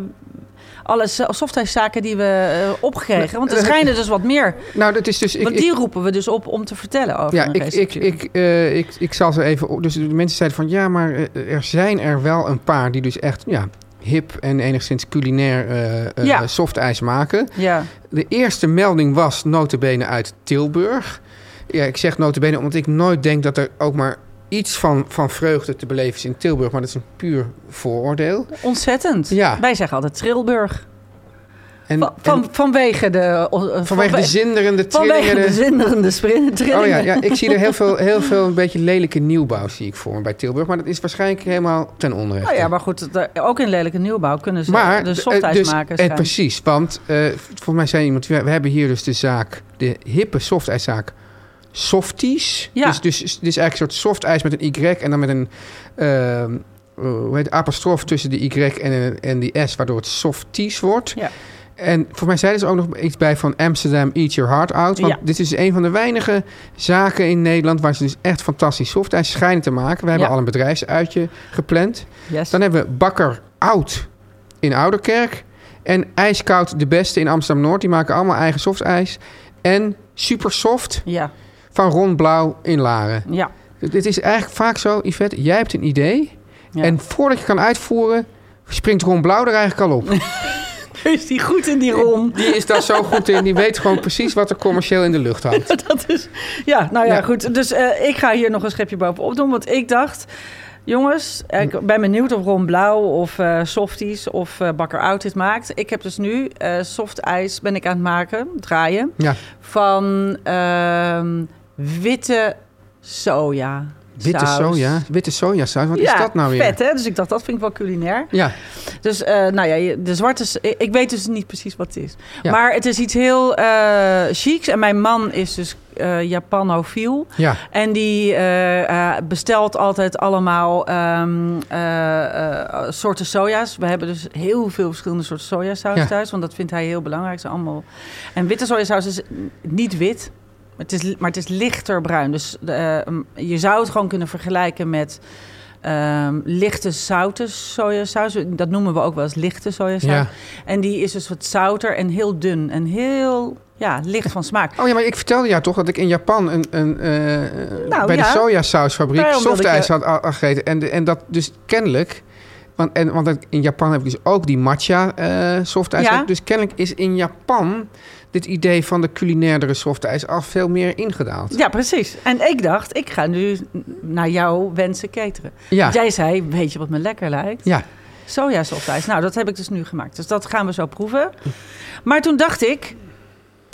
Speaker 3: Alle so- softijszaken die we eh, opgekregen. Want er schijnen dus wat meer.
Speaker 2: Nou, dat is dus... Ik,
Speaker 3: Want
Speaker 2: ik-
Speaker 3: die roepen we dus op om te vertellen over
Speaker 2: ja,
Speaker 3: een
Speaker 2: ik, ik,
Speaker 3: receptuur.
Speaker 2: ik, eh, ik, ik zal ze even... op- Dus de mensen zeiden van... Ja, maar eh, er zijn er wel een paar die dus echt ja, hip en enigszins culinair eh eh,
Speaker 3: Ja.
Speaker 2: softijs maken.
Speaker 3: Ja.
Speaker 2: De eerste melding was notabene uit Tilburg. Ja, ik zeg notabene omdat ik nooit denk dat er ook maar iets van, van vreugde te beleven is in Tilburg. Maar dat is een puur vooroordeel.
Speaker 3: Ontzettend.
Speaker 2: Ja.
Speaker 3: Wij zeggen altijd Trilburg.
Speaker 2: En,
Speaker 3: Van, van,
Speaker 2: en
Speaker 3: vanwege de... eh,
Speaker 2: vanwege de zinderende
Speaker 3: Vanwege de
Speaker 2: trillingen.
Speaker 3: zinderende sprin- trillingen.
Speaker 2: Oh ja, ja, ik zie er heel veel, heel veel een beetje lelijke nieuwbouw zie ik voor me bij Tilburg. Maar dat is waarschijnlijk helemaal ten onrechte.
Speaker 3: Nou ja, maar goed, het, eh, ook in lelijke nieuwbouw kunnen ze
Speaker 2: Maar,
Speaker 3: de
Speaker 2: eh,
Speaker 3: softijs
Speaker 2: dus,
Speaker 3: maken.
Speaker 2: eh,
Speaker 3: schijn.
Speaker 2: precies, want eh, volgens mij zei iemand... We, we hebben hier dus de zaak, de hippe softijszaak Softies.
Speaker 3: Ja.
Speaker 2: Dus, dus, dus eigenlijk een soort softijs met een Y en dan met een... ehm, eh, hoe heet het? apostrof tussen de Y en, een- en die S, waardoor het softies wordt.
Speaker 3: Ja.
Speaker 2: En voor mij zeiden ze ook nog iets bij van Amsterdam Eat Your Heart Out. Want
Speaker 3: Ja.
Speaker 2: dit is een van de weinige zaken in Nederland waar ze dus echt fantastisch softijs schijnen te maken. We hebben
Speaker 3: Ja.
Speaker 2: al een bedrijfsuitje gepland.
Speaker 3: Yes.
Speaker 2: Dus Dan hebben we Bakker Oud in Ouderkerk. En IJskoud de Beste in Amsterdam-Noord. Die maken allemaal eigen softijs. En Supersoft
Speaker 3: Ja,
Speaker 2: van Ron Blauw in Laren.
Speaker 3: ja.
Speaker 2: Het het is eigenlijk vaak zo, Yvette, jij hebt een idee.
Speaker 3: ja.
Speaker 2: En voordat je kan uitvoeren, springt Ron Blauw er eigenlijk
Speaker 3: (laughs)
Speaker 2: al op.
Speaker 3: is die goed in die rom?
Speaker 2: Die is daar zo goed in. Die weet gewoon precies wat er commercieel in de lucht hangt.
Speaker 3: (laughs) dat is. Ja, nou ja,
Speaker 2: Ja.
Speaker 3: goed. Dus eh, ik ga hier nog een schepje bovenop doen. Want ik dacht, jongens, eh,
Speaker 2: Hm.
Speaker 3: ik ben benieuwd of Ron Blauw of eh, Softies of eh, Bakker Oud dit maakt. Ik heb dus nu eh soft ijs ben ik aan het maken, draaien,
Speaker 2: Ja,
Speaker 3: van ehm, witte soja.
Speaker 2: witte
Speaker 3: saus.
Speaker 2: soja. Witte sojasaus. Wat
Speaker 3: ja,
Speaker 2: is dat nou weer?
Speaker 3: vet hè? Dus ik dacht, dat vind ik wel culinair.
Speaker 2: Ja,
Speaker 3: Dus eh, nou ja, je- de zwarte... s- Ik, ik weet dus niet precies wat het is.
Speaker 2: Ja.
Speaker 3: Maar het is iets heel eh chics. En mijn man is dus eh Japanofiel.
Speaker 2: ja.
Speaker 3: En die eh, eh, bestelt altijd allemaal ehm, eh, eh, soorten soja's. We hebben dus heel veel verschillende soorten sojasaus
Speaker 2: Ja.
Speaker 3: thuis. Want dat vindt hij heel belangrijk. Ze allemaal... En witte sojasaus is niet wit. Het is, maar het is lichter bruin. Dus eh, je zou het gewoon kunnen vergelijken met ehm, lichte zoute sojasaus. Dat noemen we ook wel eens lichte sojasaus.
Speaker 2: Ja.
Speaker 3: En die is dus wat zouter en heel dun. En heel ja, licht van smaak.
Speaker 2: Oh ja, maar ik vertelde jou toch dat ik in Japan een, een, eh,
Speaker 3: Nou,
Speaker 2: bij
Speaker 3: ja.
Speaker 2: de sojasausfabriek
Speaker 3: Daarom wilde
Speaker 2: softijs
Speaker 3: ik, eh,
Speaker 2: had a- had gegeten. En, de- en dat dus kennelijk... Want, en, want dat- in Japan heb ik dus ook die matcha eh softijs.
Speaker 3: Ja.
Speaker 2: Dus kennelijk is in Japan dit idee van de culinairdere softijs al veel meer ingedaald.
Speaker 3: Ja, precies. En ik dacht, ik ga nu naar jouw wensen cateren.
Speaker 2: Ja, ja.
Speaker 3: Jij zei, weet je wat me lekker lijkt? Sojasoftijs. Nou, dat heb ik dus nu gemaakt. Dus dat gaan we zo proeven. Maar toen dacht ik,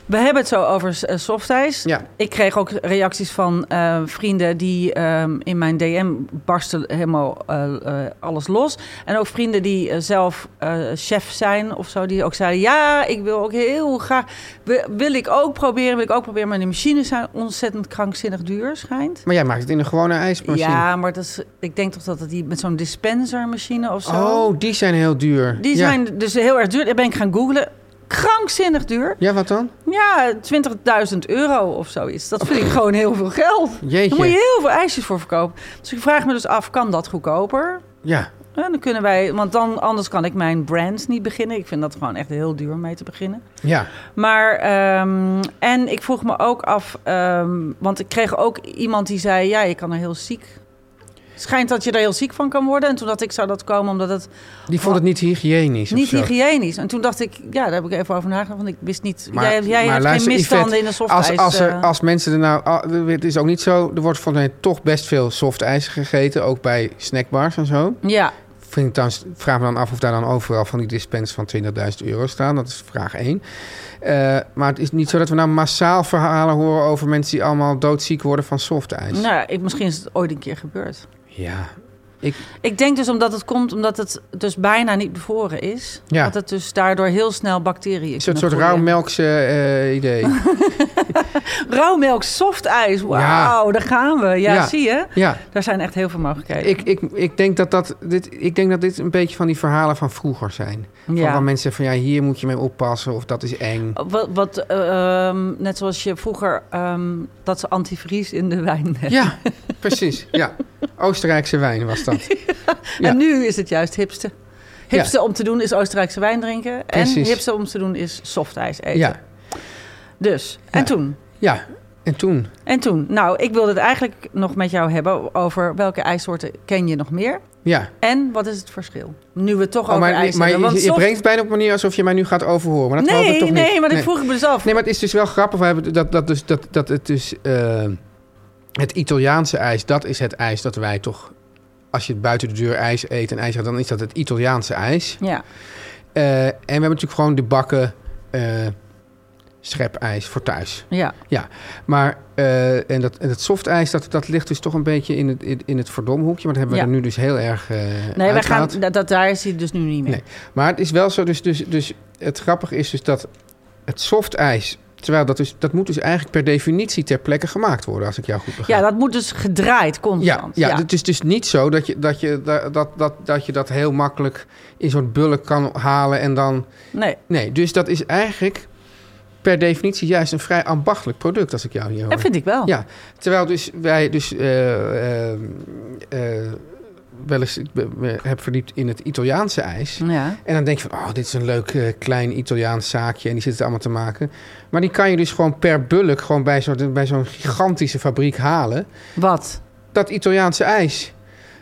Speaker 3: we hebben het zo over eh, softijs.
Speaker 2: Ja.
Speaker 3: Ik kreeg ook reacties van eh, vrienden die ehm, in mijn DM barsten helemaal eh, eh, alles los. En ook vrienden die eh, zelf eh, chef zijn of zo, die ook zeiden... ja, ik wil ook heel graag... Wil, wil ik ook proberen, wil ik ook proberen. Maar de machines zijn ontzettend krankzinnig duur, schijnt.
Speaker 2: Maar jij maakt het in een gewone ijsmachine.
Speaker 3: Ja, maar dat is, ik denk toch dat het die met zo'n dispensermachine of zo...
Speaker 2: Oh, die zijn heel duur.
Speaker 3: Die
Speaker 2: Ja.
Speaker 3: zijn dus heel erg duur. Dat ben ik gaan googlen. Krankzinnig duur.
Speaker 2: Ja, wat dan?
Speaker 3: Ja, 20.000 euro of zoiets. Dat vind ik
Speaker 2: Oh.
Speaker 3: gewoon heel veel geld.
Speaker 2: Jeetje.
Speaker 3: Daar moet je heel veel ijsjes voor verkopen. Dus ik vraag me dus af, kan dat goedkoper?
Speaker 2: Ja.
Speaker 3: En dan kunnen wij, want dan, anders kan ik mijn brand niet beginnen. Ik vind dat gewoon echt heel duur om mee te beginnen.
Speaker 2: Ja.
Speaker 3: Maar, ehm, en ik vroeg me ook af, ehm, want ik kreeg ook iemand die zei: Ja, je kan er heel ziek. Schijnt dat je er heel ziek van kan worden. En toen dacht ik, zou dat komen omdat het
Speaker 2: Die vond het niet hygiënisch. of
Speaker 3: Oh. niet
Speaker 2: zo.
Speaker 3: hygiënisch. En toen dacht ik, ja, daar heb ik even over nagedacht. Want ik wist niet.
Speaker 2: Maar-
Speaker 3: jij jij
Speaker 2: maar
Speaker 3: hebt
Speaker 2: luister,
Speaker 3: geen misstanden
Speaker 2: Yvette,
Speaker 3: in de softijs.
Speaker 2: Als, als, er,
Speaker 3: eh.
Speaker 2: als mensen er nou... ah, Het is ook niet zo... Er wordt volgens mij toch best veel softijs gegeten. Ook bij snackbars en zo.
Speaker 3: Ja,
Speaker 2: Vind ik dan, vraag me dan af of daar dan overal van die dispens van 20.000 euro staan. Dat is vraag 1. maar het is niet zo dat we nou massaal verhalen horen... over mensen die allemaal doodziek worden van softijs.
Speaker 3: nou, ja, ik, misschien is het ooit een keer gebeurd.
Speaker 2: Ja. Ik,
Speaker 3: Ik denk dus omdat het komt omdat het dus bijna niet bevroren is.
Speaker 2: Ja.
Speaker 3: Dat het dus daardoor heel snel bacteriën
Speaker 2: een soort,
Speaker 3: kunnen
Speaker 2: soort rauwmelkse eh,
Speaker 3: (laughs)
Speaker 2: idee.
Speaker 3: groeien. Rauwmelk, soft ijs. Wauw, daar gaan we. Ja,
Speaker 2: Ja.
Speaker 3: zie je?
Speaker 2: ja.
Speaker 3: Daar zijn echt heel veel mogelijkheden.
Speaker 2: Ik, ik, ik, denk dat dat, dit, ik denk dat dit een beetje van die verhalen van vroeger zijn. Van
Speaker 3: Ja.
Speaker 2: waar mensen van ja, hier moet je mee oppassen of dat is eng.
Speaker 3: Wat, wat, eh, ehm, net zoals je vroeger ehm, dat ze antivries in de wijn hebben. (laughs)
Speaker 2: Ja, precies. Ja. Oostenrijkse wijn was dat. Ja.
Speaker 3: En nu is het juist hipste. Hipste om te doen is Oostenrijkse wijn drinken. En
Speaker 2: Precies.
Speaker 3: hipste om te doen is softijs eten.
Speaker 2: Ja,
Speaker 3: Dus, en
Speaker 2: Ja.
Speaker 3: toen?
Speaker 2: ja. En toen?
Speaker 3: En toen? Nou, ik wilde het eigenlijk nog met jou hebben over welke ijssoorten ken je nog meer.
Speaker 2: Ja.
Speaker 3: En wat is het verschil? Nu we het toch
Speaker 2: Oh,
Speaker 3: over
Speaker 2: maar
Speaker 3: ijs
Speaker 2: maar je,
Speaker 3: hebben.
Speaker 2: je
Speaker 3: soms-
Speaker 2: brengt het bijna op een manier alsof je mij nu gaat overhoren. Maar dat geloof ik
Speaker 3: nee,
Speaker 2: toch niet.
Speaker 3: nee, maar ik vroeg het me dus af.
Speaker 2: Nee, maar het is dus wel grappig. We hebben dat, dat, dus, dat, dat het dus. eh, het Italiaanse ijs, dat is het ijs dat wij toch. Als je buiten de deur ijs eet en ijs gaat, dan is dat het Italiaanse ijs.
Speaker 3: Ja,
Speaker 2: Eh, en we hebben natuurlijk gewoon de bakken eh schepijs voor thuis.
Speaker 3: ja.
Speaker 2: Maar eh, en, dat, en dat softijs, dat, dat ligt dus toch een beetje in het, in, in het verdomhoekje. Maar dat hebben we er
Speaker 3: Ja.
Speaker 2: nu dus heel erg eh
Speaker 3: Nee, wij gaan,
Speaker 2: uitgehaald.
Speaker 3: dat, dat- daar is hij dus nu niet meer.
Speaker 2: Nee. Maar het is wel zo, dus, dus, dus het grappige is dus dat het softijs... Terwijl dat, dus, dat moet dus eigenlijk per definitie ter plekke gemaakt worden, als ik jou goed begrijp.
Speaker 3: Ja, dat moet dus gedraaid
Speaker 2: ja,
Speaker 3: constant.
Speaker 2: ja, het is dus niet zo dat je dat, je, dat, dat, dat, dat, je dat heel makkelijk in zo'n bulk kan halen en dan...
Speaker 3: Nee.
Speaker 2: Nee, dus dat is eigenlijk per definitie juist een vrij ambachtelijk product, als ik jou hier hoor.
Speaker 3: Dat vind ik wel.
Speaker 2: Ja, terwijl dus wij dus eh, eh, eh, wel eens ik ben- me heb verdiept in het Italiaanse ijs.
Speaker 3: Ja.
Speaker 2: En dan denk je van, oh, dit is een leuk eh, klein Italiaans zaakje en die zitten het allemaal te maken. Maar die kan je dus gewoon per bulk gewoon bij zo'n bij zo'n gigantische fabriek halen.
Speaker 3: Wat?
Speaker 2: Dat Italiaanse ijs.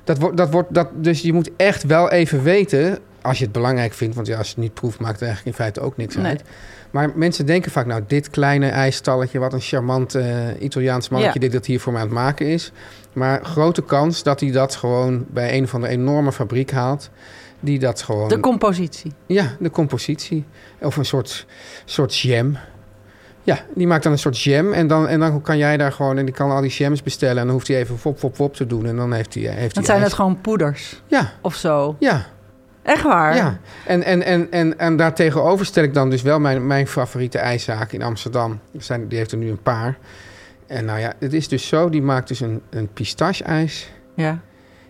Speaker 2: Dat wordt, dat wordt, dat, dus je moet echt wel even weten, als je het belangrijk vindt, want ja, als je het niet proeft, maakt het eigenlijk in feite ook niks
Speaker 3: Nee.
Speaker 2: uit. Maar mensen denken vaak, nou, dit kleine ijsstalletje, wat een charmant eh, Italiaans mannetje
Speaker 3: Ja.
Speaker 2: dit dat hier voor mij aan het maken is. Maar grote kans dat hij dat gewoon bij een van de enorme fabriek haalt. Die dat gewoon.
Speaker 3: De compositie.
Speaker 2: Ja, de compositie. Of een soort, soort jam. Ja, die maakt dan een soort jam. En dan, en dan kan jij daar gewoon... En die kan al die jams bestellen. En dan hoeft hij even wop, wop, wop te doen. En dan heeft hij... Heeft
Speaker 3: Dat
Speaker 2: hij
Speaker 3: zijn het
Speaker 2: ijs.
Speaker 3: gewoon poeders
Speaker 2: Ja,
Speaker 3: of zo.
Speaker 2: ja,
Speaker 3: Echt waar?
Speaker 2: ja. En, en, en, en, en daartegenover stel ik dan dus wel mijn, mijn favoriete ijszaak in Amsterdam. Er Zijn, die heeft er nu een paar. En nou ja, het is dus zo. Die maakt dus een, een pistache-ijs.
Speaker 3: Ja.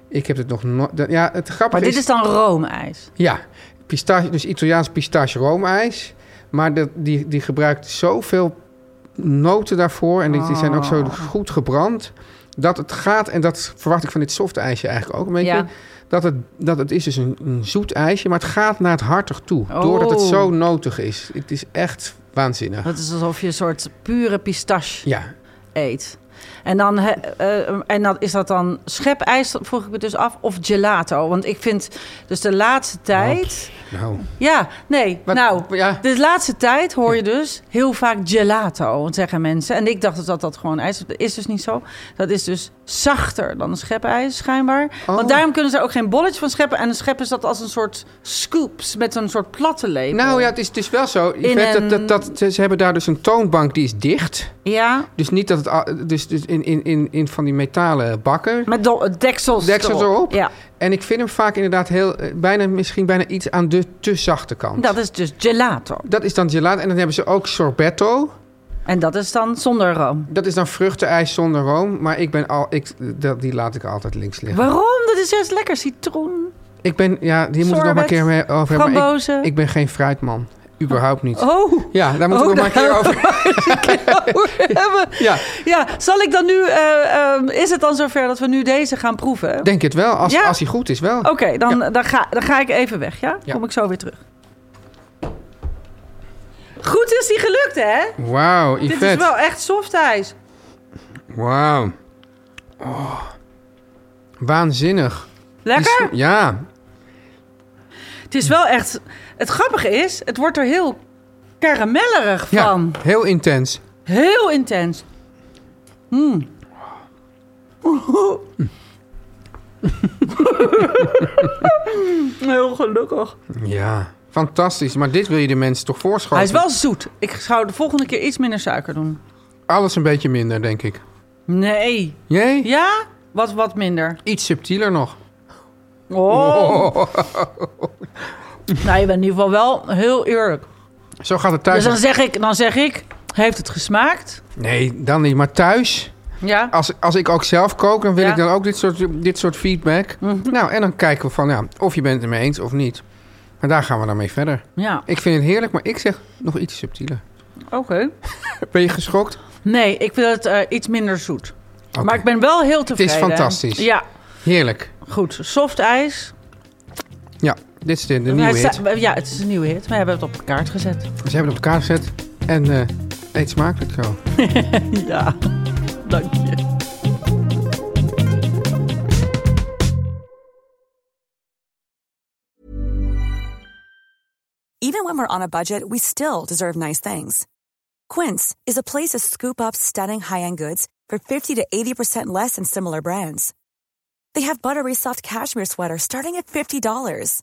Speaker 2: Ik heb het nog nooit... dat- Ja, het grappige
Speaker 3: Maar dit is dan roomijs.
Speaker 2: Ja, pistache, dus Italiaans pistache roomijs. Maar dat die, die gebruikt zoveel noten daarvoor. En die, die zijn ook zo
Speaker 3: Oh.
Speaker 2: goed gebrand. Dat het gaat, en dat verwacht ik van dit soft ijsje eigenlijk ook een beetje.
Speaker 3: Ja.
Speaker 2: Dat, het, dat het is dus een, een zoet ijsje, maar het gaat naar het hartig toe. Doordat het
Speaker 3: Oh.
Speaker 2: zo notig is. Het is echt waanzinnig.
Speaker 3: Dat is alsof je een soort pure pistache
Speaker 2: Ja,
Speaker 3: eet. En, dan, hè, eh, en dan is dat dan schepijs, dat vroeg ik me dus af, of gelato. Want ik vind dus de laatste tijd...
Speaker 2: nou.
Speaker 3: Ja, nee,
Speaker 2: Wat-
Speaker 3: nou,
Speaker 2: ja.
Speaker 3: de laatste tijd hoor je dus heel vaak gelato, zeggen mensen. En ik dacht dus dat dat gewoon ijs is. Dat is dus niet zo. Dat is dus zachter dan een schepijs, schijnbaar.
Speaker 2: Oh.
Speaker 3: Want daarom kunnen ze er ook geen bolletje van scheppen. En dan scheppen ze dat als een soort scoops, met zo'n soort platte lepel.
Speaker 2: Nou ja, het is, het is wel zo. Yvette,
Speaker 3: een-
Speaker 2: dat, dat, dat, ze hebben daar dus een toonbank die is dicht.
Speaker 3: Ja,
Speaker 2: Dus niet dat het. al- Dus, dus in, in, in, in van die metalen bakken.
Speaker 3: met do- deksels,
Speaker 2: Deksels erop?
Speaker 3: Ja,
Speaker 2: En ik vind hem vaak inderdaad heel, eh, bijna, misschien bijna iets aan de te zachte kant.
Speaker 3: dat is dus gelato.
Speaker 2: Dat is dan gelato. En dan hebben ze ook sorbetto.
Speaker 3: En dat is dan zonder room.
Speaker 2: Dat is dan vruchtenijs zonder room. Maar ik ben al, ik, dat, die laat ik altijd links liggen.
Speaker 3: Waarom? Dat is juist lekker citroen.
Speaker 2: Ik ben, ja, hier moet ik nog maar een keer mee over hebben. maar ik-
Speaker 3: Frambozen.
Speaker 2: Ik, ben geen fruitman. Überhaupt niet.
Speaker 3: Oh,
Speaker 2: Ja, daar moeten we
Speaker 3: Oh,
Speaker 2: nog maar een keer
Speaker 3: daar-
Speaker 2: over.
Speaker 3: (laughs) hebben.
Speaker 2: Ja,
Speaker 3: Ja, zal ik dan nu... eh, ehm, is het dan zover dat we nu deze gaan proeven? Oké,
Speaker 2: denk het wel. Als,
Speaker 3: Ja. Oh.
Speaker 2: als hij goed is wel.
Speaker 3: dan, dan, ga, dan ga ik even weg, ja?
Speaker 2: Ja.
Speaker 3: Kom ik zo weer terug. Goed is die gelukt, hè?
Speaker 2: Wauw,
Speaker 3: Dit is
Speaker 2: Yvette.
Speaker 3: wel echt soft ijs.
Speaker 2: Wauw. Oh. Waanzinnig. Die
Speaker 3: Lekker?
Speaker 2: sm- Ja,
Speaker 3: Het is wel echt... Het grappige is, het wordt er heel karamellerig
Speaker 2: ja.
Speaker 3: van.
Speaker 2: heel intens.
Speaker 3: Heel intens. Mm. Heel gelukkig.
Speaker 2: Ja, fantastisch. Maar dit wil je de mensen toch voorschoten?
Speaker 3: Hij is wel zoet. Ik zou de volgende keer iets minder suiker doen.
Speaker 2: Alles een beetje minder, denk ik.
Speaker 3: Nee.
Speaker 2: Jee?
Speaker 3: Ja? Wat, wat minder.
Speaker 2: Iets subtieler nog.
Speaker 3: Oh.
Speaker 2: Oh,
Speaker 3: Nou, je bent in ieder geval wel heel eerlijk.
Speaker 2: Zo gaat het
Speaker 3: Dus
Speaker 2: thuis.
Speaker 3: dan zeg ik, dan zeg ik heeft het gesmaakt?
Speaker 2: Nee, dan niet. Maar thuis,
Speaker 3: Ja.
Speaker 2: als, als ik ook zelf kook, dan wil
Speaker 3: Ja. Mhm.
Speaker 2: ik dan ook dit soort, dit soort feedback. Nou, en dan kijken we van, ja, of je bent het ermee eens of niet. Maar daar gaan we dan mee verder.
Speaker 3: Ja,
Speaker 2: Ik vind het heerlijk, maar ik zeg nog iets subtieler.
Speaker 3: oké.
Speaker 2: Ben je geschokt?
Speaker 3: Nee, ik wil het eh, iets minder zoet.
Speaker 2: Oké.
Speaker 3: Maar ik ben wel heel tevreden.
Speaker 2: fantastisch.
Speaker 3: Ja,
Speaker 2: Heerlijk.
Speaker 3: goed. Soft ijs.
Speaker 2: Ja, dit is de, de
Speaker 3: Hij
Speaker 2: nieuwe
Speaker 3: sta-
Speaker 2: hit. Ze
Speaker 3: Ja, het is een nieuwe hit. We hebben het op de kaart gezet.
Speaker 2: hebben het op elkaar gezet. En eh, eet smakelijk zo.
Speaker 3: Ja, dank je.
Speaker 4: when we're on a budget, we still deserve nice things. Quince is a place to scoop up stunning high-end goods for 50 to 80% less than similar brands. They have buttery soft cashmere sweaters starting at $50,